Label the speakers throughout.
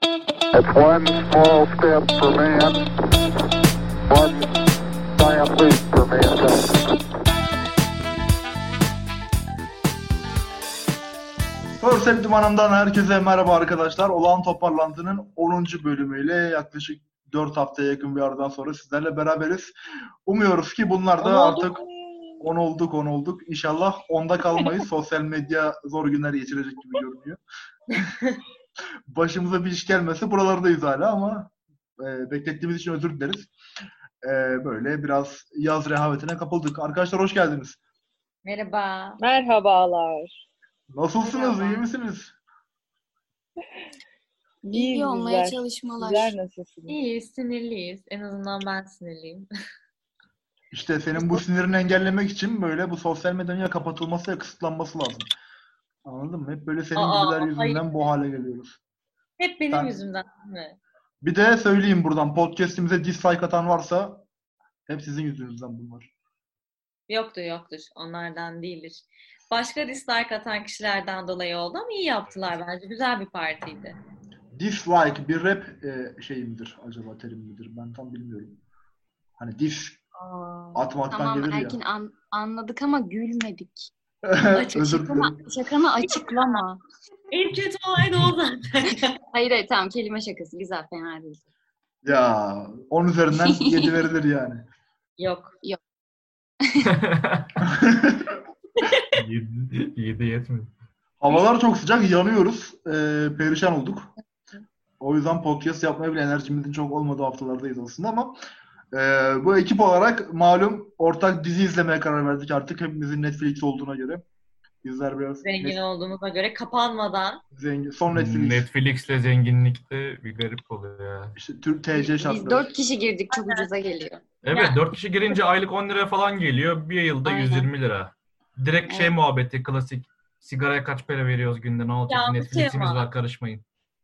Speaker 1: It's one small step for man, one giant leap for mankind.
Speaker 2: Persept Limanı'ndan herkese merhaba arkadaşlar. Olağan Toparlantı'nın 10. bölümüyle yaklaşık 4 haftaya yakın bir aradan sonra sizlerle beraberiz. Umuyoruz ki bunlar da artık 10 olduk 10 olduk. İnşallah 10'da kalmayız. Sosyal medya zor günler geçirecek gibi görünüyor. Başımıza bir iş gelmesi buralardayız hala ama e, beklettiğimiz için özür dileriz. E, böyle biraz yaz rehavetine kapıldık. Arkadaşlar hoş geldiniz.
Speaker 3: Merhaba.
Speaker 4: Merhabalar.
Speaker 2: Nasılsınız?
Speaker 3: Merhaba.
Speaker 2: İyi misiniz?
Speaker 4: İyi
Speaker 5: İyi olmaya
Speaker 4: bizler.
Speaker 5: çalışmalar.
Speaker 4: Bizler nasılsınız?
Speaker 3: İyiyiz, sinirliyiz. En azından ben sinirliyim.
Speaker 2: İşte senin bu sinirini engellemek için böyle bu sosyal medyanın ya kapatılması ya kısıtlanması lazım. Anladın mı? Hep böyle senin
Speaker 3: Aa,
Speaker 2: gibiler yüzünden
Speaker 3: hayır.
Speaker 2: bu hale geliyoruz.
Speaker 3: Hep benim
Speaker 2: Ben-
Speaker 3: yüzümden değil mi?
Speaker 2: Bir de söyleyeyim buradan podcast'imize dislike atan varsa hep sizin yüzünüzden bunlar.
Speaker 3: Yoktur yoktur. Onlardan değildir. Başka dislike atan kişilerden dolayı oldu ama iyi yaptılar bence. Güzel bir partiydi.
Speaker 2: Dislike bir rap e, şey midir acaba terim midir? Ben tam bilmiyorum. Hani dis atmaktan
Speaker 5: Tamam
Speaker 2: gelir
Speaker 5: Erkin an- anladık ama gülmedik.
Speaker 2: ya.
Speaker 3: açık
Speaker 2: Özür
Speaker 5: Şakama,
Speaker 2: dilerim.
Speaker 5: şakanı açıklama.
Speaker 3: En kötü olay da o zaten.
Speaker 5: Hayır hayır tamam kelime şakası güzel fena değil.
Speaker 2: Ya 10 üzerinden 7 verilir yani.
Speaker 3: Yok.
Speaker 6: 7 7 yetmedi.
Speaker 2: Havalar çok sıcak, yanıyoruz. Ee, perişan olduk. O yüzden podcast yapmaya bile enerjimizin çok olmadığı haftalardayız aslında ama e, bu ekip olarak malum ortak dizi izlemeye karar verdik artık hepimizin Netflix olduğuna göre. Bizler biraz
Speaker 3: Zengin
Speaker 2: net-
Speaker 3: olduğumuza göre kapanmadan
Speaker 2: zengin- son Netflix.
Speaker 6: Netflix'le zenginlikte bir garip oluyor ya.
Speaker 2: İşte Türk TC
Speaker 5: Biz, biz
Speaker 2: şartları.
Speaker 5: dört kişi girdik çok ucuza geliyor.
Speaker 6: Evet 4 kişi girince aylık 10 lira falan geliyor. Bir yılda
Speaker 5: Aynen.
Speaker 6: 120 lira. Direkt şey
Speaker 5: Evet.
Speaker 6: muhabbeti klasik. Sigaraya kaç para veriyoruz günde ne olacak?
Speaker 3: Ya bu
Speaker 6: Netflix'imiz
Speaker 3: tema.
Speaker 6: var karışmayın.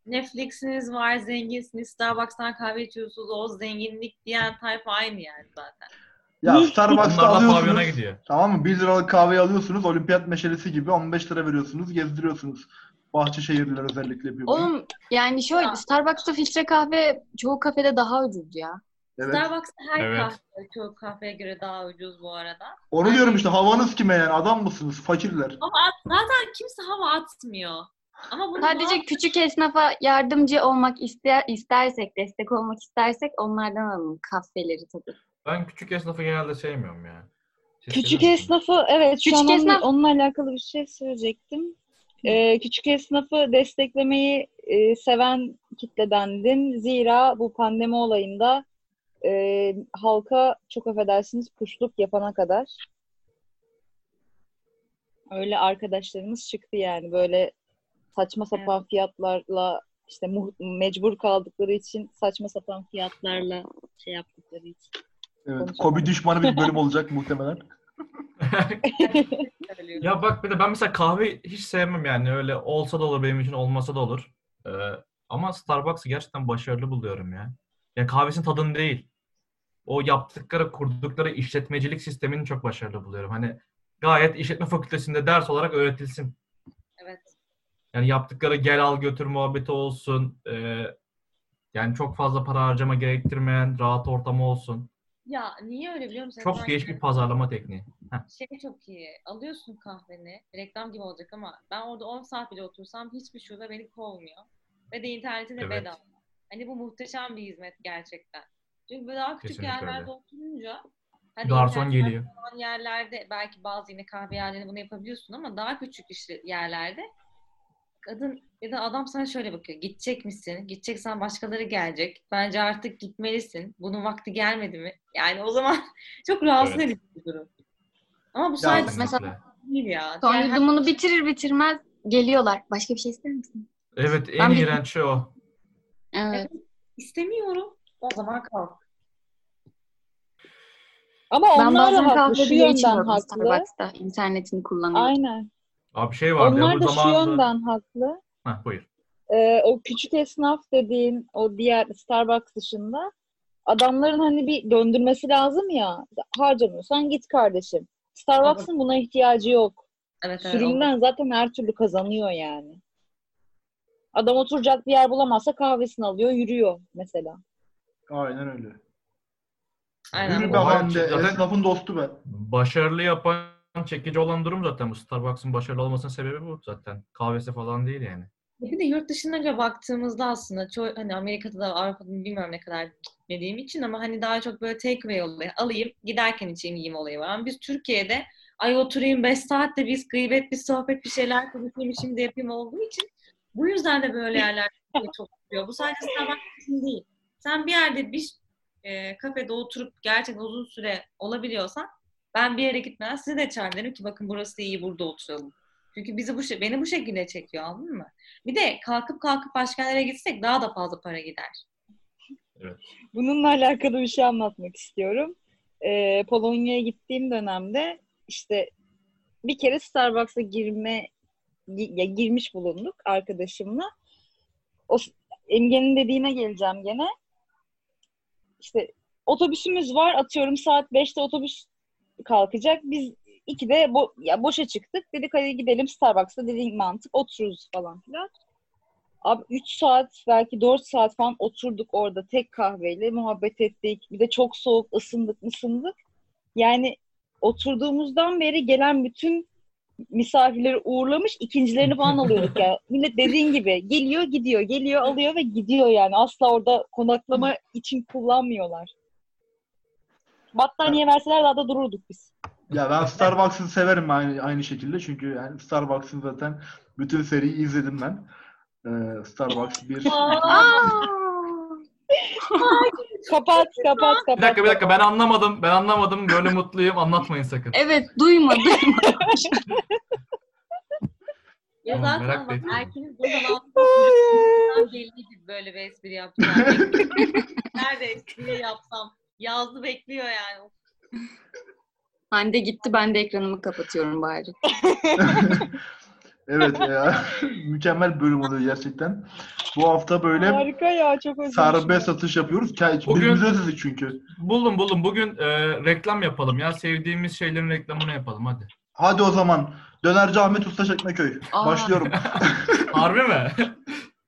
Speaker 3: Netflix'iniz var, zenginsiniz, Starbucks'tan kahve içiyorsunuz, o zenginlik diyen tayfa aynı yani zaten.
Speaker 2: Ya Starbucks'ta
Speaker 6: Onlar da pavyona
Speaker 2: alıyorsunuz.
Speaker 6: gidiyor.
Speaker 2: Tamam mı? 1 liralık kahveyi alıyorsunuz. Olimpiyat meşalesi gibi 15 lira veriyorsunuz. Gezdiriyorsunuz. Bahçeşehirliler özellikle bir.
Speaker 5: Oğlum yani şöyle
Speaker 3: Ya.
Speaker 5: Starbucks'ta filtre kahve çoğu kafede daha ucuz ya.
Speaker 2: Evet.
Speaker 3: Starbucks'ta her
Speaker 6: Evet.
Speaker 3: kahve, çoğu kahveye göre daha ucuz bu arada.
Speaker 2: Onu diyorum işte havanız kime yani adam mısınız? Fakirler.
Speaker 3: Ama at- zaten kimse hava atmıyor. Ama bunu
Speaker 5: Sadece küçük esnafa yardımcı olmak ister, istersek, destek olmak istersek onlardan alalım kahveleri tabii.
Speaker 6: Ben küçük esnafı genelde sevmiyorum ya. Siz
Speaker 4: Küçük
Speaker 6: seviyor musunuz?
Speaker 4: esnafı evet şu
Speaker 5: Küçük
Speaker 4: an onun-
Speaker 5: esnaf-
Speaker 4: onunla alakalı bir şey söyleyecektim. Ee, küçük esnafı desteklemeyi e, seven kitledendin. Zira bu pandemi olayında e, halka çok affedersiniz kuşluk yapana kadar öyle arkadaşlarımız çıktı yani böyle saçma sapan fiyatlarla işte muh- mecbur kaldıkları için saçma sapan fiyatlarla şey yaptıkları için.
Speaker 2: Evet.
Speaker 4: Konuşalım.
Speaker 2: Kobi düşmanı bir bölüm olacak muhtemelen.
Speaker 3: söylüyorum.
Speaker 6: Ya bak bir de ben mesela kahve hiç sevmem yani öyle olsa da olur benim için olmasa da olur. Ee, ama Starbucks'ı gerçekten başarılı buluyorum ya. Yani kahvesinin tadını değil. O yaptıkları, kurdukları işletmecilik sistemini çok başarılı buluyorum. Hani gayet işletme fakültesinde ders olarak öğretilsin.
Speaker 3: Evet.
Speaker 6: Yani yaptıkları gel al götür muhabbeti olsun. Ee, yani çok fazla para harcama gerektirmeyen rahat ortamı olsun.
Speaker 3: Ya niye öyle biliyor musun?
Speaker 6: Çok geç bir pazarlama tekniği.
Speaker 3: Şey çok iyi. Alıyorsun kahveni. Reklam gibi olacak ama ben orada 10 saat bile otursam hiçbir şube beni kovmuyor. Ve de interneti de
Speaker 6: Evet.
Speaker 3: bedava. Hani bu muhteşem bir hizmet gerçekten. Çünkü böyle daha küçük
Speaker 6: Kesinlikle
Speaker 3: yerlerde
Speaker 6: öyle.
Speaker 3: oturunca hani
Speaker 6: Garson
Speaker 3: internet
Speaker 6: geliyor.
Speaker 3: olan yerlerde belki bazı yine kahve yerlerinde bunu yapabiliyorsun ama daha küçük işle- yerlerde kadın ya da adam sana şöyle bakıyor. Gidecek misin? Gideceksen başkaları gelecek. Bence artık gitmelisin. Bunun vakti gelmedi mi? Yani o zaman çok rahatsız
Speaker 6: Evet.
Speaker 3: edici bir durum. Ama bu sadece
Speaker 5: mesela-
Speaker 6: Kesinlikle.
Speaker 3: değil ya.
Speaker 5: Son
Speaker 3: Diğer her-
Speaker 5: yudumunu bitirir bitirmez geliyorlar. Başka bir şey ister misin?
Speaker 6: Evet en
Speaker 5: Ben bir-
Speaker 6: iğrenç şey o.
Speaker 5: Evet.
Speaker 3: istemiyorum. O zaman kalk.
Speaker 4: Ama
Speaker 5: Ben
Speaker 4: onlar
Speaker 5: bazen
Speaker 4: da haklı.
Speaker 5: kahve
Speaker 4: Şu
Speaker 5: bile
Speaker 4: yönden
Speaker 5: içmiyorum
Speaker 4: haklı.
Speaker 5: Starbucks'ta. İnternetini kullanıyorum.
Speaker 4: Aynen.
Speaker 6: Abi şey vardı ya
Speaker 4: Onlar
Speaker 6: bu
Speaker 4: da şu
Speaker 6: zamanında-
Speaker 4: yönden haklı.
Speaker 6: Heh, buyur.
Speaker 4: Ee, o küçük esnaf dediğin o diğer Starbucks dışında adamların hani bir döndürmesi lazım ya. Harcamıyorsan git kardeşim. Starbucks'ın buna ihtiyacı yok.
Speaker 3: Evet, evet,
Speaker 4: Sürümden zaten her türlü kazanıyor yani. Adam oturacak bir yer bulamazsa kahvesini alıyor, yürüyor mesela.
Speaker 2: Aynen öyle.
Speaker 3: Aynen.
Speaker 2: Yürü
Speaker 6: O
Speaker 2: be
Speaker 6: var
Speaker 2: Hande.
Speaker 6: ki zaten-
Speaker 2: Esnafın dostu be.
Speaker 6: Başarılı yapan çekici olan durum zaten bu. Starbucks'ın başarılı olmasının sebebi bu zaten. Kahvesi falan değil yani.
Speaker 3: Bir de yurt dışına göre baktığımızda aslında çoğu hani Amerika'da da Avrupa'da da bilmiyorum ne kadar gitmediğim için ama hani daha çok böyle take away olayı alayım giderken içeyim yiyeyim olayı var. Ama biz Türkiye'de ay oturayım 5 saatte biz gıybet bir sohbet bir şeyler konuşayım şimdi yapayım olduğu için bu yüzden de böyle yerler çok tutuyor. Bu sadece Starbucks için değil. Sen bir yerde bir e, kafede oturup gerçekten uzun süre olabiliyorsan ben bir yere gitmeden size de çağırırım Derim ki bakın burası iyi burada oturalım. Çünkü bizi bu şey- beni bu şekilde çekiyor anladın mı? Bir de kalkıp kalkıp başka yerlere gitsek daha da fazla para gider.
Speaker 4: Bununla alakalı bir şey anlatmak istiyorum. Ee, Polonya'ya gittiğim dönemde işte bir kere Starbucks'a girme gi- ya girmiş bulunduk arkadaşımla. O s- Emge'nin dediğine geleceğim gene. İşte otobüsümüz var atıyorum saat 5'te otobüs kalkacak. Biz 2'de bo- ya boşa çıktık. Dedik hadi gidelim Starbucks'ta dediğin mantık otururuz falan filan. Abi 3 saat belki 4 saat falan oturduk orada tek kahveyle muhabbet ettik. Bir de çok soğuk ısındık ısındık. Yani oturduğumuzdan beri gelen bütün misafirleri uğurlamış ikincilerini falan alıyorduk ya. Millet dediğin gibi geliyor gidiyor geliyor alıyor ve gidiyor yani. Asla orada konaklama için kullanmıyorlar. Battaniye verseler daha da dururduk biz.
Speaker 2: Ya ben Starbucks'ı severim aynı, aynı şekilde. Çünkü yani Starbucks'ın zaten bütün seriyi izledim ben. Ee, Starbucks bir...
Speaker 4: Kapat kapat kapat.
Speaker 6: Bir dakika bir dakika ben anlamadım. Ben anlamadım. Böyle mutluyum. Anlatmayın sakın.
Speaker 5: evet duyma duyma.
Speaker 3: Ya
Speaker 6: Tamam, merak
Speaker 3: zaten
Speaker 6: da
Speaker 3: bak
Speaker 6: etmiyorum.
Speaker 3: Erkin'in buradan altından belliydi böyle bir espri yapacağını. Nerede espri yapsam. Yazdı bekliyor yani.
Speaker 5: Hande gitti ben de ekranımı kapatıyorum bari.
Speaker 2: evet ya. Mükemmel bölüm oluyor gerçekten. Bu hafta böyle
Speaker 4: Harika şey. ya çok özür
Speaker 2: serbest satış yapıyoruz. Ke-
Speaker 6: Bugün-
Speaker 2: Birbirimize özledik çünkü.
Speaker 6: Buldum buldum. Bugün e, reklam yapalım ya. Sevdiğimiz şeylerin reklamını yapalım hadi.
Speaker 2: Hadi o zaman. Dönerci Ahmet Usta Çekmeköy.
Speaker 5: Aa.
Speaker 2: Başlıyorum.
Speaker 6: Harbi mi?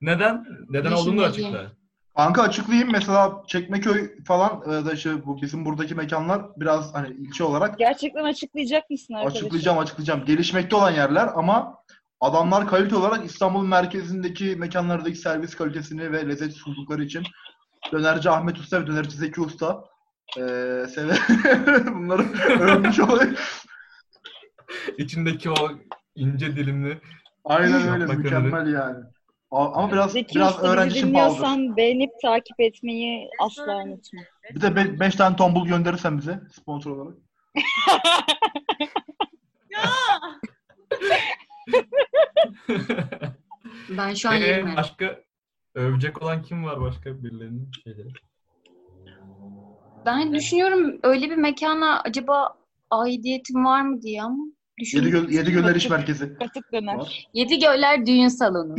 Speaker 6: Neden? Neden olduğunu da
Speaker 5: Düşünmediğim.
Speaker 6: açıkla.
Speaker 2: Kanka açıklayayım mesela Çekmeköy falan e, da işte bu bizim buradaki mekanlar biraz hani ilçe olarak
Speaker 4: Gerçekten açıklayacak mısın arkadaşım?
Speaker 2: Açıklayacağım açıklayacağım. Gelişmekte olan yerler ama adamlar kalite olarak İstanbul merkezindeki mekanlardaki servis kalitesini ve lezzet sundukları için dönerci Ahmet Usta ve dönerci Zeki Usta eee seve bunları övmüş olayım.
Speaker 6: İçindeki o ince dilimli.
Speaker 2: Aynen öyle
Speaker 6: Yapmak
Speaker 2: mükemmel yani. A- Ama biraz
Speaker 4: Zeki
Speaker 2: biraz
Speaker 4: Usta bizi
Speaker 2: öğrenci için pahalıdır.
Speaker 4: dinliyorsan beğenip takip etmeyi asla unutma.
Speaker 2: Bir de 5 tane tombul gönderirsen bize sponsor olarak.
Speaker 5: Ben şu an yerim.
Speaker 6: Ee,
Speaker 5: herhalde.
Speaker 6: başka övecek olan kim var başka birilerinin şeyleri?
Speaker 5: Ben düşünüyorum öyle bir mekana acaba aidiyetim var mı diye ama. Düşün.
Speaker 2: Yedi, gö- yedi göller iş merkezi.
Speaker 4: Katık döner.
Speaker 2: Var.
Speaker 5: Yedi Göller Düğün Salonu.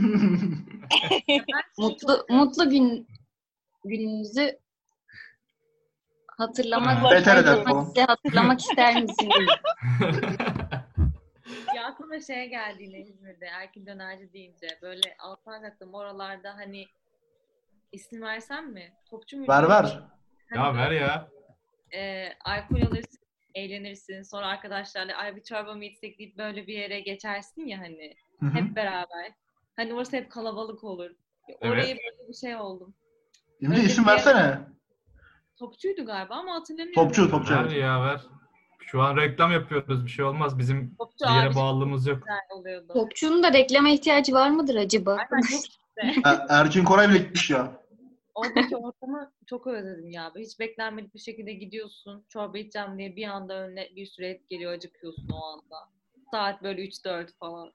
Speaker 5: mutlu mutlu gün gününüzü hatırlamak
Speaker 4: Beter
Speaker 2: eder
Speaker 5: hatırlamak-
Speaker 2: falan.
Speaker 5: size hatırlamak ister misiniz?
Speaker 3: Ya aklıma şey geldi yine İzmir'de Erkin Dönerci deyince böyle alttan kattım oralarda hani isim versem mi? Topçu muydu?
Speaker 2: ver ver.
Speaker 6: Ya ver ya.
Speaker 3: e, alkol alırsın, eğlenirsin. Sonra arkadaşlarla ay bir çorba mı içsek deyip böyle bir yere geçersin ya hani.
Speaker 2: Hı hı.
Speaker 3: Hep beraber. Hani orası hep kalabalık olur. Ya Orayı böyle bir şey oldum.
Speaker 2: Şimdi isim versene.
Speaker 3: Topçuydu galiba ama hatırlamıyorum.
Speaker 2: Topçu topçu.
Speaker 6: Ver ya ver. Şu an reklam yapıyoruz. Bir şey olmaz. Bizim
Speaker 3: Topçu
Speaker 6: bir
Speaker 3: abi
Speaker 6: yere
Speaker 3: çok
Speaker 6: bağlılığımız yok.
Speaker 3: güzel oluyordu.
Speaker 5: Topçunun da reklama ihtiyacı var mıdır acaba?
Speaker 3: Aynen çok
Speaker 2: Er- Erkin Koray bile gitmiş ya.
Speaker 3: oradaki ortamı çok özledim ya. Hiç beklenmedik bir şekilde gidiyorsun. Çorba içeceğim diye bir anda önüne bir süre et geliyor acıkıyorsun o anda. Saat böyle 3-4 falan.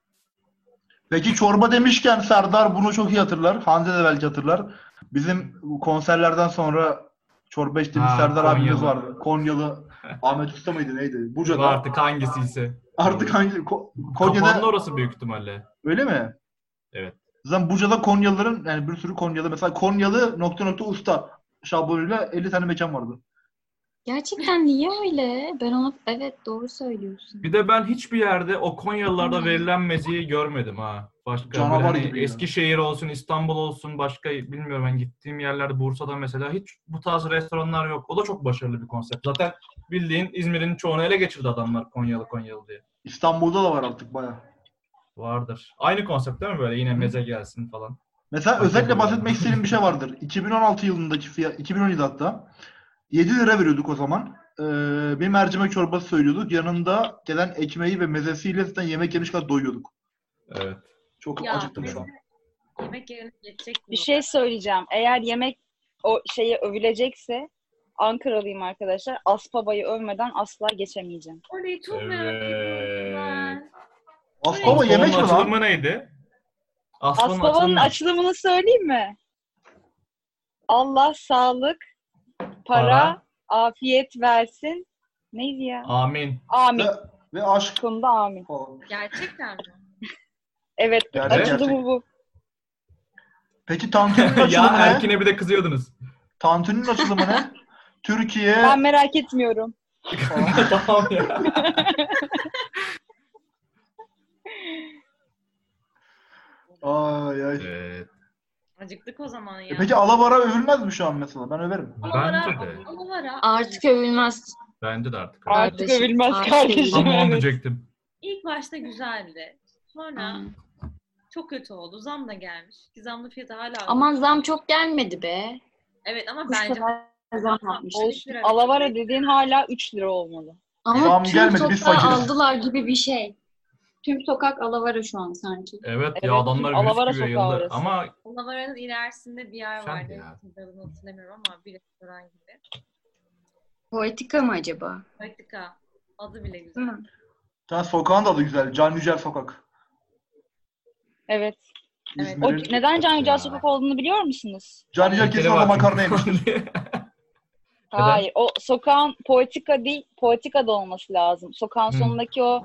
Speaker 2: Peki çorba demişken Serdar bunu çok iyi hatırlar. Hande de belki hatırlar. Bizim konserlerden sonra çorba içtiğimiz
Speaker 6: Ha,
Speaker 2: Serdar abimiz
Speaker 6: Konyalı.
Speaker 2: vardı. Konyalı Ahmet Usta mıydı neydi? Buca'da. Artık,
Speaker 6: Artık hangisiyse.
Speaker 2: hangi? Ko- Konya'da
Speaker 6: Kapandı orası büyük ihtimalle.
Speaker 2: öyle mi?
Speaker 6: Evet.
Speaker 2: Zaten Buca'da Konyalıların yani bir sürü Konyalı mesela Konyalı nokta nokta usta şablonuyla 50 tane mekan vardı.
Speaker 5: Gerçekten niye öyle? Ben ona evet doğru söylüyorsun.
Speaker 6: Bir de ben hiçbir yerde o Konyalılarda verilen meziyi görmedim ha. Başka böyle
Speaker 2: Canavar
Speaker 6: hani
Speaker 2: gibi ya.
Speaker 6: Eskişehir olsun, İstanbul olsun, başka bilmiyorum ben gittiğim yerlerde Bursa'da mesela hiç bu tarz restoranlar yok. O da çok başarılı bir konsept. Zaten bildiğin İzmir'in çoğunu ele geçirdi adamlar Konyalı Konyalı diye.
Speaker 2: İstanbul'da da var artık baya.
Speaker 6: Vardır. Aynı konsept değil mi böyle yine meze gelsin falan.
Speaker 2: Mesela
Speaker 6: Hakikaten
Speaker 2: özellikle
Speaker 6: öyle.
Speaker 2: bahsetmek istediğim bir şey vardır. 2016 yılındaki fiyat, 2017 hatta 7 lira veriyorduk o zaman. Ee, bir mercimek çorbası söylüyorduk. Yanında gelen ekmeği ve mezesiyle zaten yemek yemiş kadar doyuyorduk.
Speaker 6: Evet.
Speaker 2: Çok
Speaker 3: Ya,
Speaker 2: acıktım şu an.
Speaker 3: Yemek yerine geçecek mi?
Speaker 4: Bir şey söyleyeceğim. Eğer yemek o şeyi övülecekse Ankaralıyım arkadaşlar. Aspaba'yı övmeden asla geçemeyeceğim.
Speaker 3: Orayı çok
Speaker 6: Evet.
Speaker 3: merak ediyorum ben.
Speaker 2: Aspava
Speaker 6: Aslanın
Speaker 2: yemek mi lan?
Speaker 6: açılımı neydi? Aslanın
Speaker 4: Aspava'nın
Speaker 6: açılımı-
Speaker 4: açılımını söyleyeyim mi? Allah sağlık, para,
Speaker 6: Para.
Speaker 4: afiyet versin. Neydi ya?
Speaker 6: Amin.
Speaker 4: Amin.
Speaker 2: Ve, ve aşk
Speaker 4: Konuda amin.
Speaker 2: falan.
Speaker 3: Gerçekten mi?
Speaker 4: Evet,
Speaker 2: Gerçek,
Speaker 4: açıldı
Speaker 2: gerçek.
Speaker 4: bu bu.
Speaker 2: Peki Tantuni'nin açılımı
Speaker 6: ya
Speaker 2: ne?
Speaker 6: Erkin'e bir de kızıyordunuz.
Speaker 2: Tantuni'nin açılımı ne? Türkiye
Speaker 4: Ben merak etmiyorum.
Speaker 2: falan.
Speaker 6: tamam ya.
Speaker 2: Ay ay.
Speaker 6: Evet.
Speaker 3: Acıktık o zaman
Speaker 2: E
Speaker 3: ya.
Speaker 2: peki Alabara övülmez mi şu an mesela? Ben överim.
Speaker 6: Bence de.
Speaker 3: Alavara.
Speaker 5: Artık övülmez.
Speaker 6: Bence de artık.
Speaker 4: Artık
Speaker 5: Kardeşim,
Speaker 4: övülmez
Speaker 5: artık
Speaker 4: kardeşim.
Speaker 6: Tam onu
Speaker 4: Evet.
Speaker 6: diyecektim.
Speaker 3: İlk başta güzeldi. Sonra çok kötü oldu. Zam da gelmiş. Ki zamlı fiyatı hala
Speaker 5: Aman zam çok gelmedi be.
Speaker 3: Evet ama
Speaker 5: Bu
Speaker 3: bence şey
Speaker 5: sefer zam yapmış.
Speaker 4: Olsun. Alavara dediğin hala 3 lira olmalı.
Speaker 5: Ama
Speaker 2: Zam
Speaker 5: tüm
Speaker 2: gelmedi, biz
Speaker 5: sokağı
Speaker 2: fakiriz.
Speaker 5: aldılar gibi bir şey. Tüm sokak alavara şu an sanki.
Speaker 6: Evet,
Speaker 4: Evet,
Speaker 6: ya adamlar
Speaker 4: Alavara
Speaker 6: virüs gibi
Speaker 4: sokağı
Speaker 6: yayıldı.
Speaker 4: orası.
Speaker 6: Ama
Speaker 3: Alavara'nın ilerisinde bir yer
Speaker 6: Sen
Speaker 3: vardı.
Speaker 6: ya.
Speaker 3: Adını hatırlamıyorum ama bir restoran gibi.
Speaker 5: Poetika mı acaba?
Speaker 3: Patika. Adı bile güzel.
Speaker 5: Değil mi?
Speaker 2: Sen sokağın da adı güzel. Can Yücel Sokak.
Speaker 4: Evet.
Speaker 3: Evet.
Speaker 4: O,
Speaker 2: İzmir'in.
Speaker 4: neden Can Yücel
Speaker 6: Ya.
Speaker 4: Sokak olduğunu biliyor musunuz?
Speaker 2: Can Yücel kesin orada makarna yemiştir.
Speaker 6: Neden?
Speaker 4: Hayır. O sokağın poetika değil, poetika da olması lazım. Sokağın
Speaker 6: Hmm.
Speaker 4: sonundaki o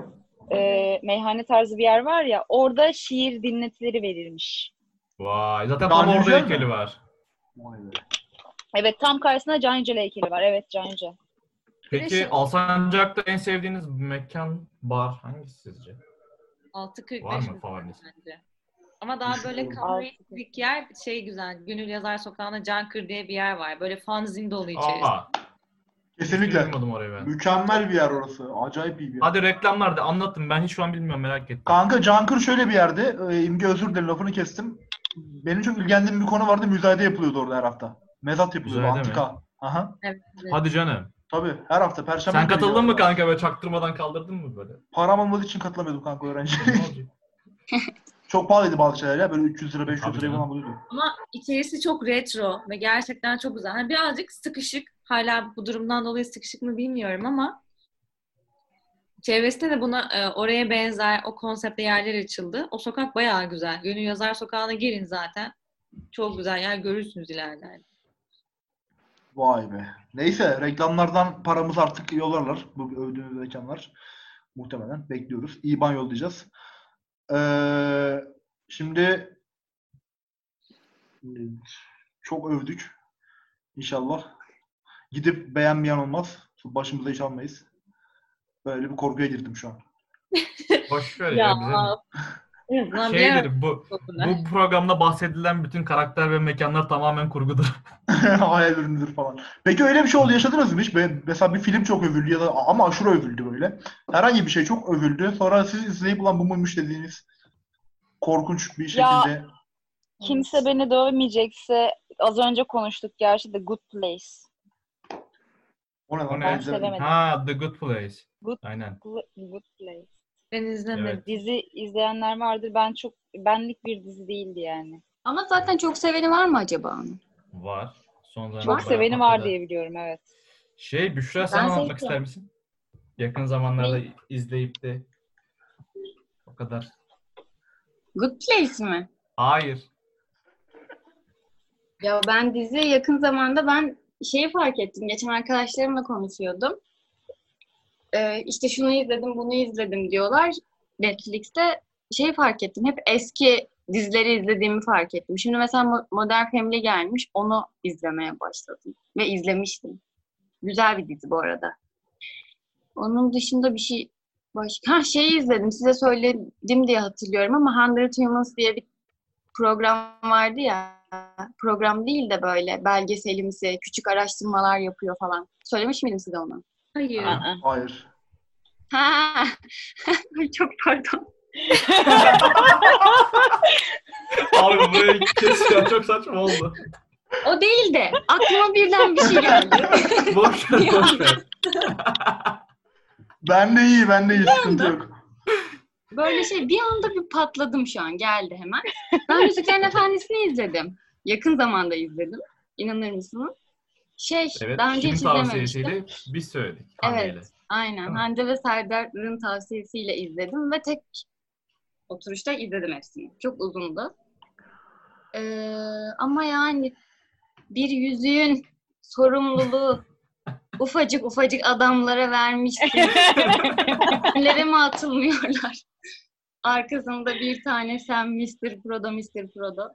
Speaker 4: e, meyhane tarzı bir yer var ya, orada şiir dinletileri verilmiş.
Speaker 6: Vay, zaten
Speaker 2: Daha
Speaker 6: tam orada
Speaker 2: güzel mi?
Speaker 6: heykeli var.
Speaker 2: Vay be.
Speaker 4: Evet, tam karşısında Can Yücel heykeli var. Evet, Can Yücel.
Speaker 6: Peki
Speaker 3: şey-
Speaker 6: Alsancak'ta en sevdiğiniz mekan, bar hangisi sizce?
Speaker 3: 6.45
Speaker 6: Var mı
Speaker 3: mesela
Speaker 6: favoriniz?
Speaker 3: bence. Ama daha böyle
Speaker 2: Düşünüyorum.
Speaker 3: kahvelik yer şey güzel. Gönül Yazar Sokağı'nda Cankır diye bir yer var. Böyle fanzin dolu içerisi.
Speaker 6: Aa, hiç
Speaker 2: Kesinlikle.
Speaker 6: duymadım orayı ben.
Speaker 2: Mükemmel bir yer orası. Acayip iyi bir yer.
Speaker 6: Hadi reklamlar da anlatın. Ben hiç şu an bilmiyorum merak ettim.
Speaker 2: Kanka Cankır şöyle bir yerde. Ee, İmge özür dilerim lafını kestim. Benim çok ilgilendiğim bir konu vardı. Müzayede yapılıyordu orada her hafta. Mezat yapılıyordu
Speaker 6: Müzayede mi?
Speaker 2: antika. Aha.
Speaker 3: Evet.
Speaker 6: Hadi canım.
Speaker 2: Tabii her hafta perşembe.
Speaker 6: Sen
Speaker 2: günü
Speaker 6: katıldın mı
Speaker 2: gidiyorlar.
Speaker 6: kanka böyle çaktırmadan kaldırdın mı böyle?
Speaker 2: Param olmadığı için katılamıyordum kanka öğrenci.
Speaker 6: Ne olacak?
Speaker 2: çok pahalıydı bazı şeyler ya. Böyle 300 lira 500
Speaker 6: Tabii
Speaker 2: lira
Speaker 6: canım.
Speaker 2: falan buluyordu.
Speaker 3: Ama içerisi çok retro ve gerçekten çok güzel. Hani birazcık sıkışık. Hala bu durumdan dolayı sıkışık mı bilmiyorum ama çevresinde de buna e, oraya benzer o konsepte yerler açıldı. O sokak bayağı güzel. Gönül Yazar Sokağı'na girin zaten. Çok güzel yer görürsünüz ileride.
Speaker 2: Vay be. Neyse reklamlardan paramız artık yollarlar. Bu övdüğümüz mekanlar. Muhtemelen bekliyoruz. İban yollayacağız. Ee, şimdi çok övdük. İnşallah. Gidip beğenmeyen olmaz. Başımıza iş almayız. Böyle bir korkuya girdim şu an.
Speaker 6: Boş ver ya. bize ne?
Speaker 3: Lan
Speaker 6: Şey
Speaker 3: bilemem
Speaker 6: dedim bu
Speaker 3: okulda.
Speaker 6: bu programda bahsedilen bütün karakter ve mekanlar tamamen kurgudur.
Speaker 2: Hayal ürünüdür falan. Peki öyle bir şey oldu yaşadınız mı hiç? Ben, mesela bir film çok övüldü ya da ama aşırı övüldü böyle. Herhangi bir şey çok övüldü. Sonra siz izleyip ulan bu muymuş dediğiniz korkunç bir
Speaker 4: Ya-
Speaker 2: şekilde.
Speaker 4: Kimse beni dövmeyecekse, az önce konuştuk gerçi The Good Place.
Speaker 2: O ne lan?
Speaker 6: O ne?
Speaker 2: Ben izlemedim.
Speaker 4: Söylemedim.
Speaker 6: ha The Good Place.
Speaker 4: Good-
Speaker 6: Aynen.
Speaker 4: Gl- Good Place.
Speaker 3: Ben izlemedim.
Speaker 6: Evet.
Speaker 4: Dizi izleyenler vardır. Ben çok benlik bir dizi değildi yani.
Speaker 5: Ama zaten çok seveni var mı acaba? onun?
Speaker 6: Var. Son
Speaker 4: Çok
Speaker 6: zamanlarda
Speaker 4: seveni var
Speaker 6: patladı.
Speaker 4: diye biliyorum evet.
Speaker 6: Şey Büşra
Speaker 5: Ben
Speaker 6: sen anlatmak
Speaker 5: sevdim.
Speaker 6: ister misin? Yakın zamanlarda izleyip de o kadar.
Speaker 5: Good Place mi?
Speaker 6: Hayır.
Speaker 5: Ya ben dizi yakın zamanda ben şeyi fark ettim. Geçen arkadaşlarımla konuşuyordum. Ee, işte şunu izledim, bunu izledim diyorlar. Netflix'te şey fark ettim. Hep eski dizileri izlediğimi fark ettim. Şimdi mesela Mo- Modern Family gelmiş. Onu izlemeye başladım. Ve izlemiştim. Güzel bir dizi bu arada. Onun dışında bir şey başka ha, şeyi izledim. Size söyledim diye hatırlıyorum ama 100 Humans diye bir program vardı ya. Program değil de böyle belgeselimsi, küçük araştırmalar yapıyor falan. Söylemiş miydim size onu?
Speaker 3: Hayır.
Speaker 6: Ha.
Speaker 4: Aa.
Speaker 2: Hayır.
Speaker 5: Ha. Ay, Çok pardon.
Speaker 6: Abi burayı kes ya çok saçma oldu.
Speaker 5: O değil de aklıma birden bir şey geldi.
Speaker 6: Boş ver boş ver.
Speaker 2: Ben de iyi, ben de iyi. Sıkıntı yok.
Speaker 5: Böyle şey bir anda bir patladım şu an geldi hemen. Ben Yüzüklerin Efendisi'ni izledim. Yakın zamanda izledim. İnanır mısınız? Şey
Speaker 6: Evet
Speaker 5: daha önce
Speaker 6: kimin
Speaker 5: hiç izlememiştim.
Speaker 6: tavsiyesiyle biz söyledik.
Speaker 5: Evet.
Speaker 6: Hande'yle.
Speaker 5: Aynen.
Speaker 6: Tamam.
Speaker 5: Hande ve Serdar'ın tavsiyesiyle izledim ve tek oturuşta izledim hepsini. Çok uzundu. Ee, ama yani bir yüzüğün sorumluluğu ufacık ufacık adamlara vermişsin. Nereye mi atılmıyorlar? Arkasında bir tane sen Mr. Prodo, Mr. Prodo.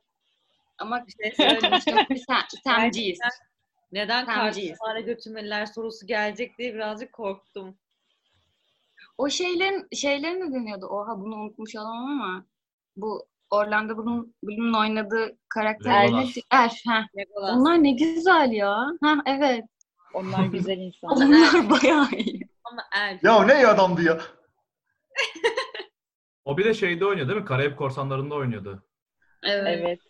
Speaker 5: Ama
Speaker 3: Bir şey söyleyeyim.
Speaker 5: söylemiştim biz sen, semciyiz.
Speaker 3: Neden
Speaker 5: Sen
Speaker 3: karşı
Speaker 5: değil.
Speaker 3: para götürmeliler sorusu gelecek diye birazcık korktum.
Speaker 5: O şeylerin şeyleri ne deniyordu? Oha bunu unutmuş olamam ama bu Orlando Bloom- Bloom'un oynadığı karakter
Speaker 6: Legolas.
Speaker 5: ne? Elf. heh.
Speaker 3: Legolas.
Speaker 5: Onlar ne güzel ya. Ha evet.
Speaker 4: Onlar güzel insanlar.
Speaker 5: Onlar bayağı iyi.
Speaker 3: Ama elf.
Speaker 2: Ya ne iyi adamdı ya.
Speaker 6: O bir de şeyde oynuyor değil mi? Karayip Korsanları'nda oynuyordu.
Speaker 4: Evet.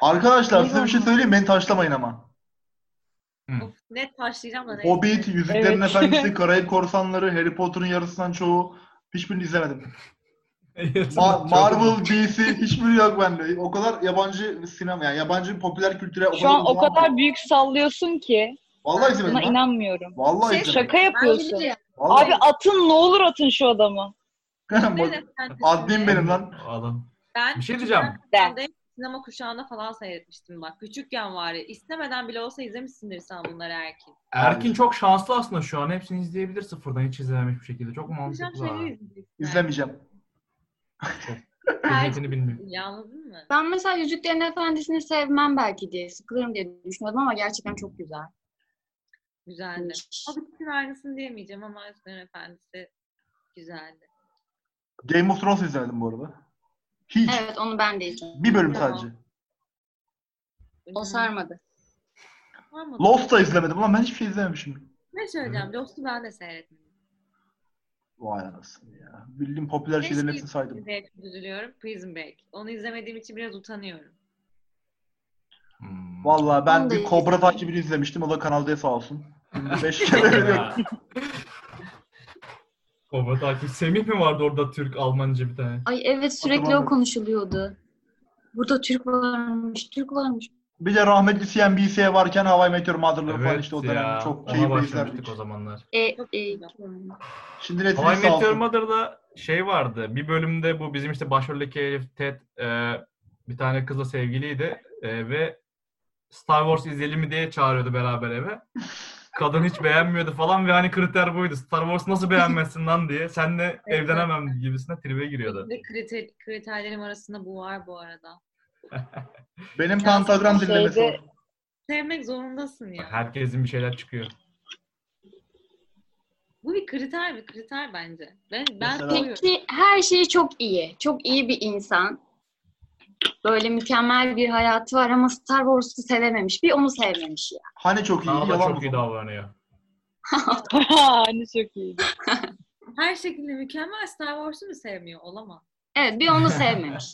Speaker 2: Arkadaşlar size bir
Speaker 5: Eyvallah.
Speaker 2: şey söyleyeyim. Beni taşlamayın ama.
Speaker 3: Of, net taşlayacağım da neyse.
Speaker 2: Hobbit, Yüzüklerin
Speaker 4: Evet.
Speaker 2: Efendisi, Karayip Korsanları, Harry Potter'ın yarısından çoğu. Hiçbirini izlemedim. Ma- Marvel, DC hiçbiri yok bende. O kadar yabancı sinema, yani yabancı popüler kültüre o
Speaker 4: Şu an o
Speaker 2: uzağım ki.
Speaker 4: kadar büyük sallıyorsun ki.
Speaker 2: Vallahi izlemedim.
Speaker 4: Buna
Speaker 2: lan.
Speaker 4: inanmıyorum.
Speaker 2: Vallahi
Speaker 3: Şey,
Speaker 2: izlemedim.
Speaker 4: Şaka yapıyorsun.
Speaker 5: biliyorum.
Speaker 2: Vallahi.
Speaker 4: Abi atın ne olur atın şu adamı.
Speaker 2: Bak,
Speaker 3: Neden sen
Speaker 2: Admin
Speaker 3: düşünme?
Speaker 2: benim lan.
Speaker 6: Adam.
Speaker 3: Ben
Speaker 6: Bir şey diyeceğim.
Speaker 4: De.
Speaker 3: küçükken sinema kuşağında falan seyretmiştim bak. Küçükken var ya. İstemeden bile olsa izlemişsindir sen bunları Erkin.
Speaker 6: Erkin çok şanslı aslında şu an. Hepsini izleyebilir sıfırdan hiç izlememiş bir şekilde. Çok
Speaker 3: Kuşağım
Speaker 6: mantıklı. ha.
Speaker 3: şeyleri izleyeceksin.
Speaker 2: İzlemeyeceğim.
Speaker 6: Kıymetini bilmiyorum.
Speaker 3: Ya, Anladın mı?
Speaker 5: Ben mesela Yüzüklerin Efendisi'ni sevmem belki diye. Sıkılırım diye düşünüyordum ama gerçekten çok güzel.
Speaker 3: Güzeldi. Hobbit'in aynısını diyemeyeceğim ama Yüzüklerin Efendisi güzeldi.
Speaker 2: Game of Thrones izlemedim bu arada. Hiç.
Speaker 5: Evet onu ben de izledim.
Speaker 2: Bir bölüm
Speaker 3: Ya.
Speaker 2: sadece.
Speaker 3: Hmm.
Speaker 5: O sarmadı.
Speaker 3: Var mı?
Speaker 2: Lost da izlemedim. Ulan ben hiçbir şey izlememişim.
Speaker 3: Ne söyleyeceğim? Lost'u ben de seyretmedim.
Speaker 2: Vay anasını ya. Bildiğim popüler şeylerin hepsini saydım.
Speaker 3: izleyip üzülüyorum. Prison Break. Onu izlemediğim için biraz utanıyorum.
Speaker 6: Hmm.
Speaker 2: Vallahi ben
Speaker 5: Onu da
Speaker 2: bir Kobra takibini izlemiştim. O da Kanal D sağ olsun. Beş kere veriyorum.
Speaker 6: Ya. Kobra takip. Semih mi vardı orada Türk Almanca bir tane?
Speaker 5: Ay evet sürekli o
Speaker 2: Hatırlamıyorum.
Speaker 5: konuşuluyordu. Burada Türk varmış, Türk varmış.
Speaker 2: Bir de rahmetli CNBC varken Hawaii Meteor Mother'ları falan
Speaker 6: Evet
Speaker 2: işte o
Speaker 6: ya.
Speaker 2: dönem çok
Speaker 6: Ona
Speaker 2: keyifli
Speaker 6: başlamıştık
Speaker 2: izlerdik.
Speaker 6: o zamanlar.
Speaker 5: E, e,
Speaker 3: Çok güzel.
Speaker 2: Şimdi Netflix
Speaker 6: Hawaii
Speaker 2: sağ
Speaker 6: Meteor
Speaker 2: olsun.
Speaker 6: Mother'da şey vardı. Bir bölümde bu bizim işte başroldeki herif Ted e, bir tane kızla sevgiliydi e, ve Star Wars izleyelim mi diye çağırıyordu beraber eve. Kadın hiç beğenmiyordu falan ve hani kriter buydu. Star Wars nasıl beğenmezsin lan diye. Senle evlenemem gibisine tribe giriyordu.
Speaker 3: Ve kriter, kriterlerim arasında bu var bu arada.
Speaker 2: Benim pentagram
Speaker 4: Şeyde-
Speaker 2: dinlemesi var.
Speaker 3: Sevmek zorundasın ya.
Speaker 6: Herkesin bir şeyler çıkıyor.
Speaker 3: Bu bir kriter bir kriter bence. Ben ben
Speaker 2: Mesela-
Speaker 3: seviyorum.
Speaker 5: Peki her şeyi çok iyi. Çok iyi bir insan. Böyle mükemmel bir hayatı var ama Star Wars'u sevememiş. Bir onu sevmemiş ya.
Speaker 2: Hani çok iyi,
Speaker 6: Daha da
Speaker 2: yalan
Speaker 6: çok
Speaker 2: mı?
Speaker 6: iyi davranıyor.
Speaker 4: hani çok iyi.
Speaker 3: Her şekilde mükemmel Star Wars'u mu sevmiyor? Olamaz.
Speaker 5: Evet bir onu sevmemiş.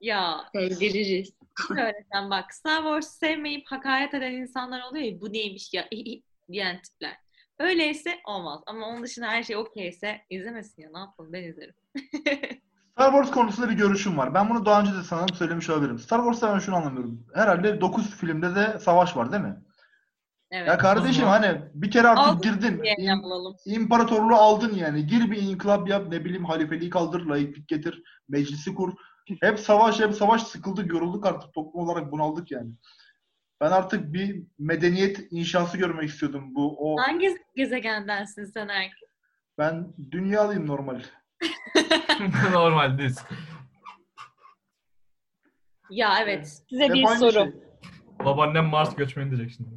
Speaker 3: Ya
Speaker 5: Sevdiririz.
Speaker 3: söylesem bak Star Wars'u sevmeyip hakaret eden insanlar oluyor ya bu neymiş ya diyen tipler. Öyleyse olmaz. Ama onun dışında her şey okeyse izlemesin ya ne yapalım ben izlerim.
Speaker 2: Star Wars konusunda bir görüşüm var. Ben bunu daha önce de sanırım söylemiş olabilirim. Star Wars'ta ben şunu anlamıyorum. Herhalde 9 filmde de savaş var değil mi?
Speaker 3: Evet.
Speaker 2: Ya kardeşim
Speaker 6: Hı hı.
Speaker 2: hani bir kere artık
Speaker 3: Aldın
Speaker 2: girdin.
Speaker 3: diye
Speaker 2: İm-
Speaker 3: alalım.
Speaker 2: İmparatorluğu aldın yani. Gir bir inkılap yap ne bileyim halifeliği kaldır, layıklık getir, meclisi kur. Hep savaş hep savaş sıkıldık, yorulduk artık toplum olarak bunaldık yani. Ben artık bir medeniyet inşası görmek istiyordum bu o.
Speaker 3: Hangi gezegendensin sen Erkin?
Speaker 2: Ben dünyalıyım normal.
Speaker 6: Normal düz.
Speaker 3: Ya evet.
Speaker 4: Size bir
Speaker 2: Hep aynı
Speaker 4: sorum.
Speaker 2: şey.
Speaker 6: Babaannem Mars göçmeni diyecek şimdi.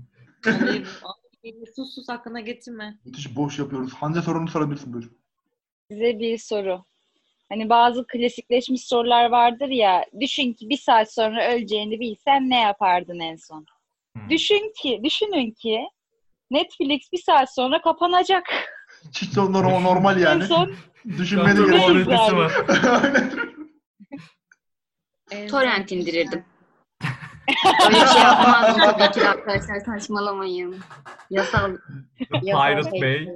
Speaker 3: Olayı bu. Ay, sus sus hakkına getirme.
Speaker 2: Müthiş boş yapıyoruz. Hande sorunu sorabilirsin buyur.
Speaker 4: Size bir soru. Hani bazı klasikleşmiş sorular vardır ya. Düşün ki bir saat sonra öleceğini bilsen ne yapardın en son?
Speaker 6: Hmm.
Speaker 4: Düşün ki, düşünün ki Netflix bir saat sonra kapanacak.
Speaker 2: Hiç de onlar o normal
Speaker 4: En
Speaker 2: yani.
Speaker 4: son
Speaker 2: Düşünmeye de
Speaker 6: Çok
Speaker 2: gerek yok.
Speaker 4: Neyse.
Speaker 6: otoritesi var.
Speaker 2: Aynen.
Speaker 3: Ee,
Speaker 5: Torrent indirirdim. Öyle bir şey yapmazdım tabii ki de arkadaşlar saçmalamayın. Yasal. yasal
Speaker 6: Pirate
Speaker 5: şey.
Speaker 6: Bay.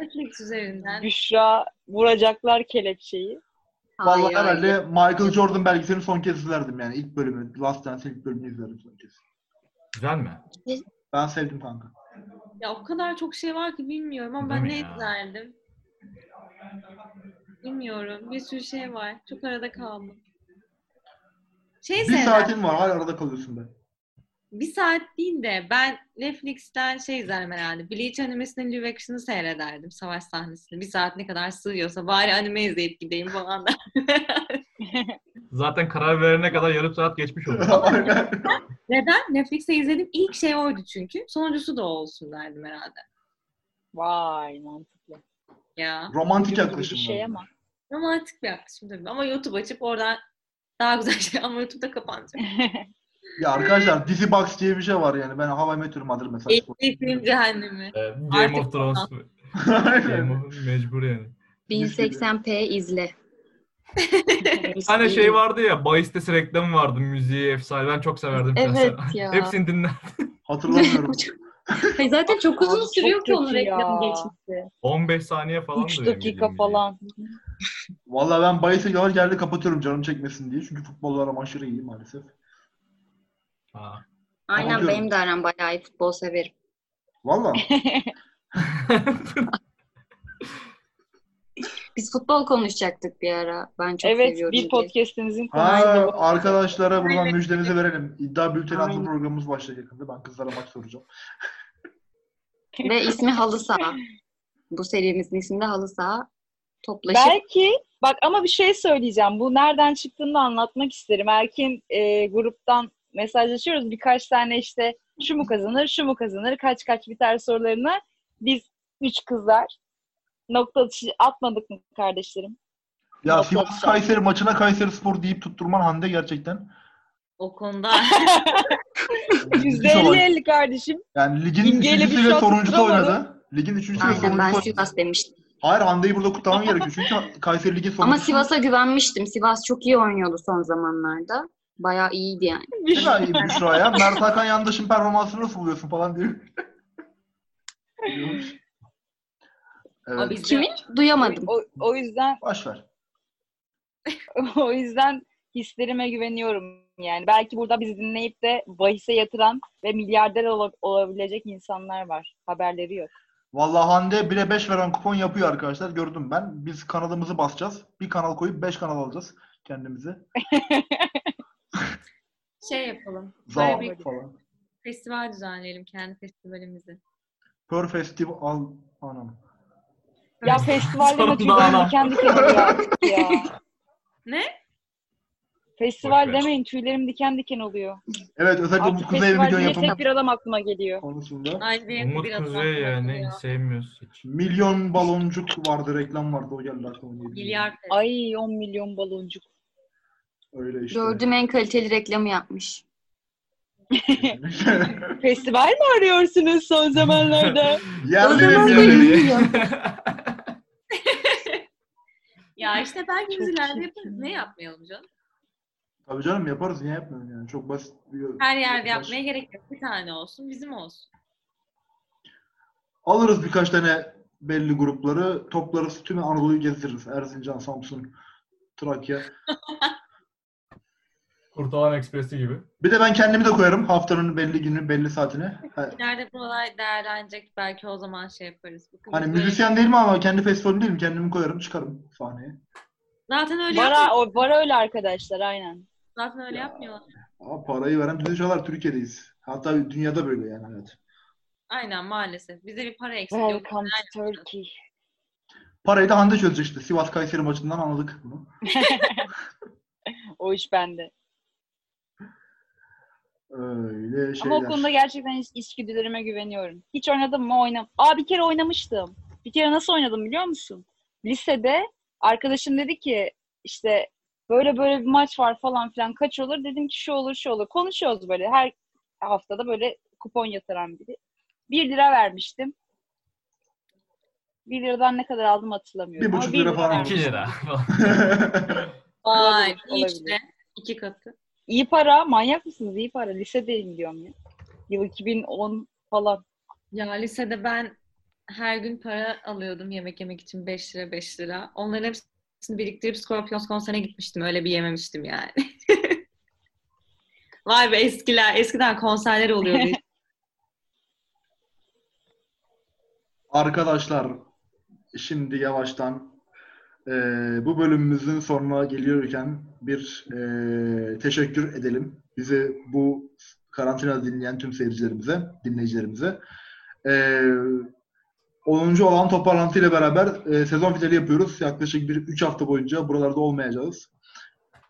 Speaker 3: Netflix üzerinden.
Speaker 4: Büşra vuracaklar kelepçeyi.
Speaker 5: Hayır,
Speaker 2: Vallahi
Speaker 5: hayır.
Speaker 2: herhalde Michael Jordan belgeselini son kez izlerdim yani. ilk bölümü, Last Dance'in ilk bölümünü izlerim son kez.
Speaker 6: Güzel mi?
Speaker 2: Ben sevdim kanka.
Speaker 3: Ya o kadar çok şey var ki bilmiyorum ama ben
Speaker 6: Değil mi
Speaker 3: ne
Speaker 6: ya?
Speaker 3: izlerdim? Bilmiyorum. Bir sürü şey var. Çok arada kaldım. Şey
Speaker 2: Bir
Speaker 3: sever.
Speaker 2: saatin var, hala arada kalıyorsun be.
Speaker 3: Bir saat değil de ben Netflix'ten şey izlerim herhalde. Bleach animesinin live action'ı seyrederdim. Savaş sahnesini. Bir saat ne kadar sığıyorsa bari anime izleyip gideyim falan da.
Speaker 6: Zaten karar verene kadar yarım saat geçmiş olur.
Speaker 2: Aynen.
Speaker 3: Neden? Netflix'te izledim. ilk şey oydu çünkü. Sonuncusu da o olsun derdim herhalde.
Speaker 4: Vay mantıklı.
Speaker 3: Ya.
Speaker 2: Romantik
Speaker 4: Ucuz gibi bir
Speaker 2: yaklaşım.
Speaker 4: şey
Speaker 2: var.
Speaker 4: ama.
Speaker 3: Romantik bir yaklaşım tabii. Ama YouTube açıp oradan daha güzel şey. Ama YouTube'da kapanacak.
Speaker 2: Ya arkadaşlar dizi box diye bir şey var yani. Ben Hava Meteor Mother mesela.
Speaker 3: Eski film cehennemi.
Speaker 6: Ee, Game of
Speaker 3: Artık-
Speaker 6: Thrones. Game
Speaker 2: Aynen.
Speaker 6: of mecbur yani.
Speaker 5: 1080p izle.
Speaker 6: Bir tane şey vardı ya, bahistesi reklamı vardı, müziği efsane. Ben çok severdim.
Speaker 5: Evet
Speaker 6: şahsen.
Speaker 5: ya.
Speaker 6: Hepsini dinler.
Speaker 2: Hatırlamıyorum.
Speaker 5: Hayır, zaten çok uzun
Speaker 4: Abi çok
Speaker 5: sürüyor ki onun
Speaker 4: kötü ya.
Speaker 5: reklamı geçmesi.
Speaker 6: 15 saniye falan.
Speaker 4: 3
Speaker 6: duruyor
Speaker 4: dakika
Speaker 6: müziğin
Speaker 4: falan.
Speaker 2: Vallahi ben bahise yavaş geldi kapatıyorum canım çekmesin diye. Çünkü futbollara aram aşırı iyi maalesef.
Speaker 6: müziği. Ha.
Speaker 5: Aynen
Speaker 2: Anlıyorum.
Speaker 5: benim de aram bayağı iyi futbol severim.
Speaker 2: Valla.
Speaker 5: Biz futbol konuşacaktık bir ara. Ben çok
Speaker 4: evet
Speaker 5: seviyorum.
Speaker 4: bir
Speaker 5: diye.
Speaker 4: podcastimizin
Speaker 2: Ha,
Speaker 4: konusu bu.
Speaker 2: arkadaşlara buradan müjdemizi verelim. İddia bülteni adlı
Speaker 5: Aynen.
Speaker 2: programımız başlayacak yakında. Ben kızlara maç soracağım.
Speaker 5: Ve ismi halı saha. Bu serimizin ismi de halı saha. Toplaşıp
Speaker 4: Belki bak ama bir şey söyleyeceğim. Bu nereden çıktığını da anlatmak isterim. Erkin e, gruptan mesajlaşıyoruz. Birkaç tane işte şu mu kazanır, şu mu kazanır, kaç kaç biter sorularına biz üç kızlar nokta atışı atmadık mı kardeşlerim?
Speaker 2: Ya
Speaker 4: Yok,
Speaker 2: Sivas
Speaker 4: yok.
Speaker 2: Kayseri maçına Kayseri Spor deyip tutturman Hande gerçekten.
Speaker 3: O konuda
Speaker 4: Yüzde
Speaker 2: müthiş olay.
Speaker 4: elli elli kardeşim.
Speaker 2: Yani ligin
Speaker 4: İmgeyle bir
Speaker 2: üçüncüsü ve
Speaker 4: şut
Speaker 2: sonuncusu
Speaker 4: tutturamadı.
Speaker 2: oynadı. Ligin üçüncüsü ve
Speaker 5: Aynen ben
Speaker 2: sonuncusu oynadı.
Speaker 5: Sivas demiştim.
Speaker 2: Hayır Hande'yi burada kutlamam gerekiyor. Çünkü Kayseri Ligi sonuncusu.
Speaker 5: Ama Sivas'a güvenmiştim. Sivas çok iyi oynuyordu son zamanlarda. Bayağı iyiydi yani.
Speaker 2: Ne kadar iyi Büşra ya. Mert Hakan Yandaş'ın performansını nasıl buluyorsun falan diyor. Diyormuş. evet.
Speaker 3: o bizde-
Speaker 5: Kimin? Duyamadım.
Speaker 4: O, o yüzden
Speaker 2: Baş ver.
Speaker 4: o yüzden hislerime güveniyorum yani. Belki burada bizi dinleyip de bahise yatıran ve milyarder ola- olabilecek insanlar var. Haberleri yok.
Speaker 2: Vallahi Hande 1'e 5 veren kupon yapıyor arkadaşlar. Gördüm ben. Biz kanalımızı basacağız. Bir kanal koyup 5 kanal alacağız kendimize.
Speaker 3: şey yapalım. Böyle bir
Speaker 2: Zavallı falan.
Speaker 3: festival düzenleyelim kendi festivalimizi.
Speaker 2: Per Festival anam.
Speaker 4: Ya festivalden
Speaker 6: Sonunda
Speaker 4: ötüyden
Speaker 6: ana.
Speaker 4: diken diken oluyor artık ya.
Speaker 3: Ne?
Speaker 4: Festival
Speaker 6: Boş ver.
Speaker 4: demeyin tüylerim diken diken oluyor.
Speaker 2: Evet özellikle bu
Speaker 4: Artık
Speaker 2: Kuzey
Speaker 4: festival
Speaker 2: video
Speaker 4: diye
Speaker 2: yapımı
Speaker 4: tek bir adam aklıma geliyor.
Speaker 2: konusunda.
Speaker 3: Ay, benim de
Speaker 6: Umut
Speaker 3: biraz
Speaker 6: Kuzey
Speaker 3: aklıma
Speaker 6: ya ne
Speaker 3: geliyor.
Speaker 6: sevmiyoruz hiç.
Speaker 2: Milyon baloncuk vardı reklam vardı o geldi aklıma.
Speaker 3: Milyar fest.
Speaker 4: Ay 10 milyon baloncuk.
Speaker 2: Öyle işte.
Speaker 5: Gördüğüm en kaliteli reklamı yapmış.
Speaker 4: Festival mi arıyorsunuz son zamanlarda?
Speaker 2: Yerlere
Speaker 5: Ödemez
Speaker 2: bir
Speaker 5: benim.
Speaker 2: yere.
Speaker 3: Ya işte belki biz
Speaker 4: Çok
Speaker 3: ileride
Speaker 4: iyi.
Speaker 3: yaparız. Ne yapmayalım canım?
Speaker 2: Tabii canım yaparız niye yapmıyoruz yani. Çok basit bir
Speaker 3: Her yerde
Speaker 2: yaklaş-
Speaker 3: yapmaya gerek yok. Bir tane olsun, bizim olsun.
Speaker 2: Alırız birkaç tane belli grupları, toplarız, tüm Anadolu'yu gezdiririz. Erzincan, Samsun, Trakya.
Speaker 6: Kurtalan Ekspresi gibi.
Speaker 2: Bir de ben kendimi de koyarım haftanın belli günü, belli saatine. Ha-
Speaker 3: Nerede bu olay değerlenecek belki o zaman şey yaparız. Bakın
Speaker 2: Hani
Speaker 3: biz böyle-
Speaker 2: müzisyen değilim ama kendi festivalim değilim. Kendimi koyarım, çıkarım sahneye.
Speaker 3: Zaten öyle yapmıyor.
Speaker 4: Vara, o, vara öyle arkadaşlar aynen.
Speaker 3: Zaten öyle
Speaker 2: Ya.
Speaker 3: yapmıyorlar.
Speaker 2: Ama parayı veren bütün çalar Türkiye'deyiz. Hatta dünyada böyle yani evet.
Speaker 3: Aynen maalesef. Bize bir para eksik yok.
Speaker 4: Welcome to Turkey.
Speaker 2: Parayı da Hande çözecek işte. Sivas Kayseri maçından anladık bunu.
Speaker 4: O iş bende.
Speaker 2: Öyle şeyler.
Speaker 4: Ama o konuda gerçekten is- içgüdülerime güveniyorum. Hiç oynadım mı? Oynam. Aa bir kere oynamıştım. Bir kere nasıl oynadım biliyor musun? Lisede arkadaşım dedi ki işte böyle böyle bir maç var falan filan kaç olur? Dedim ki şu olur şu olur. Konuşuyoruz böyle her haftada böyle kupon yatıran biri. 1 lira vermiştim. 1 liradan ne kadar aldım hatırlamıyorum.
Speaker 2: Bir
Speaker 4: Ama
Speaker 2: buçuk
Speaker 4: bir
Speaker 2: lira falan
Speaker 4: vermiştim.
Speaker 6: 2 lira falan.
Speaker 3: Vay, iyi
Speaker 4: olabilir.
Speaker 3: işte. İki katı.
Speaker 4: İyi para. Manyak mısınız? İyi para. Lisedeyim diyorum ya. Yıl 2010 falan.
Speaker 3: Ya lisede ben her gün para alıyordum yemek yemek için 5 lira 5 lira. Onların hepsini biriktirip Scorpions konserine gitmiştim. Öyle bir yememiştim yani. Vay be eskiler. Eskiden konserler oluyordu.
Speaker 2: Arkadaşlar şimdi yavaştan e, bu bölümümüzün sonuna geliyorken bir e, teşekkür edelim. Bizi bu karantina dinleyen tüm seyircilerimize, dinleyicilerimize. E, 10. olan toparlantıyla beraber e, sezon finali yapıyoruz. Yaklaşık bir 3 hafta boyunca buralarda olmayacağız.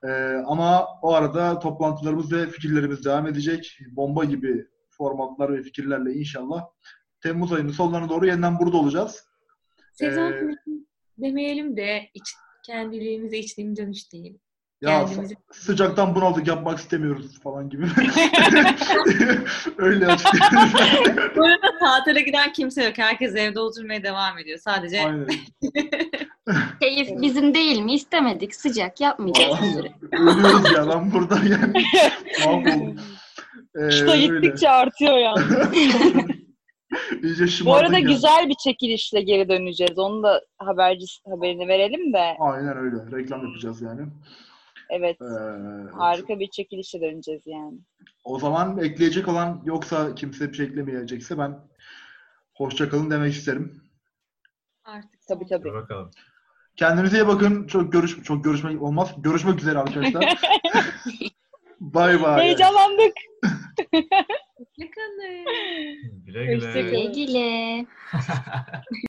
Speaker 2: E, ama o arada toplantılarımız ve fikirlerimiz devam edecek. Bomba gibi formatlar ve fikirlerle inşallah Temmuz ayının sonlarına doğru yeniden burada olacağız.
Speaker 3: Sezon
Speaker 2: Ee,
Speaker 3: finali demeyelim de iç, kendiliğimize içtiğim dönüş değil.
Speaker 2: Ya
Speaker 3: Kendimizi-
Speaker 2: sı- sıcaktan bunaldık yapmak istemiyoruz falan gibi. Öyle açık.
Speaker 3: Bu arada tatile giden kimse yok. Herkes evde oturmaya devam ediyor. Sadece
Speaker 2: Aynen.
Speaker 5: Keyif bizim değil mi? İstemedik. Sıcak yapmayacağız. bir süre.
Speaker 2: Ölüyoruz ya ben burada yani. Mahvoldum. Ee,
Speaker 4: Çıta
Speaker 2: öyle.
Speaker 4: gittikçe artıyor yani.
Speaker 2: İyice
Speaker 4: Bu
Speaker 2: şımardık
Speaker 4: arada
Speaker 2: ya.
Speaker 4: güzel bir çekilişle geri döneceğiz. Onu da haberci haberini verelim de.
Speaker 2: Aynen öyle. Reklam yapacağız yani.
Speaker 4: Evet.
Speaker 2: Ee,
Speaker 4: Harika bir çekilişle döneceğiz yani.
Speaker 2: O zaman ekleyecek olan yoksa kimse bir şey eklemeyecekse ben hoşça kalın demek isterim.
Speaker 3: artık
Speaker 4: Tabii tabii.
Speaker 6: Dur bakalım.
Speaker 2: Kendinize iyi bakın. Çok görüş çok görüşmek olmaz. Görüşmek üzere arkadaşlar. Bay bay.
Speaker 4: Heyecanlandık.
Speaker 3: Yakınız.
Speaker 6: Güle güle.
Speaker 4: Hoşçakalın.
Speaker 5: Güle güle.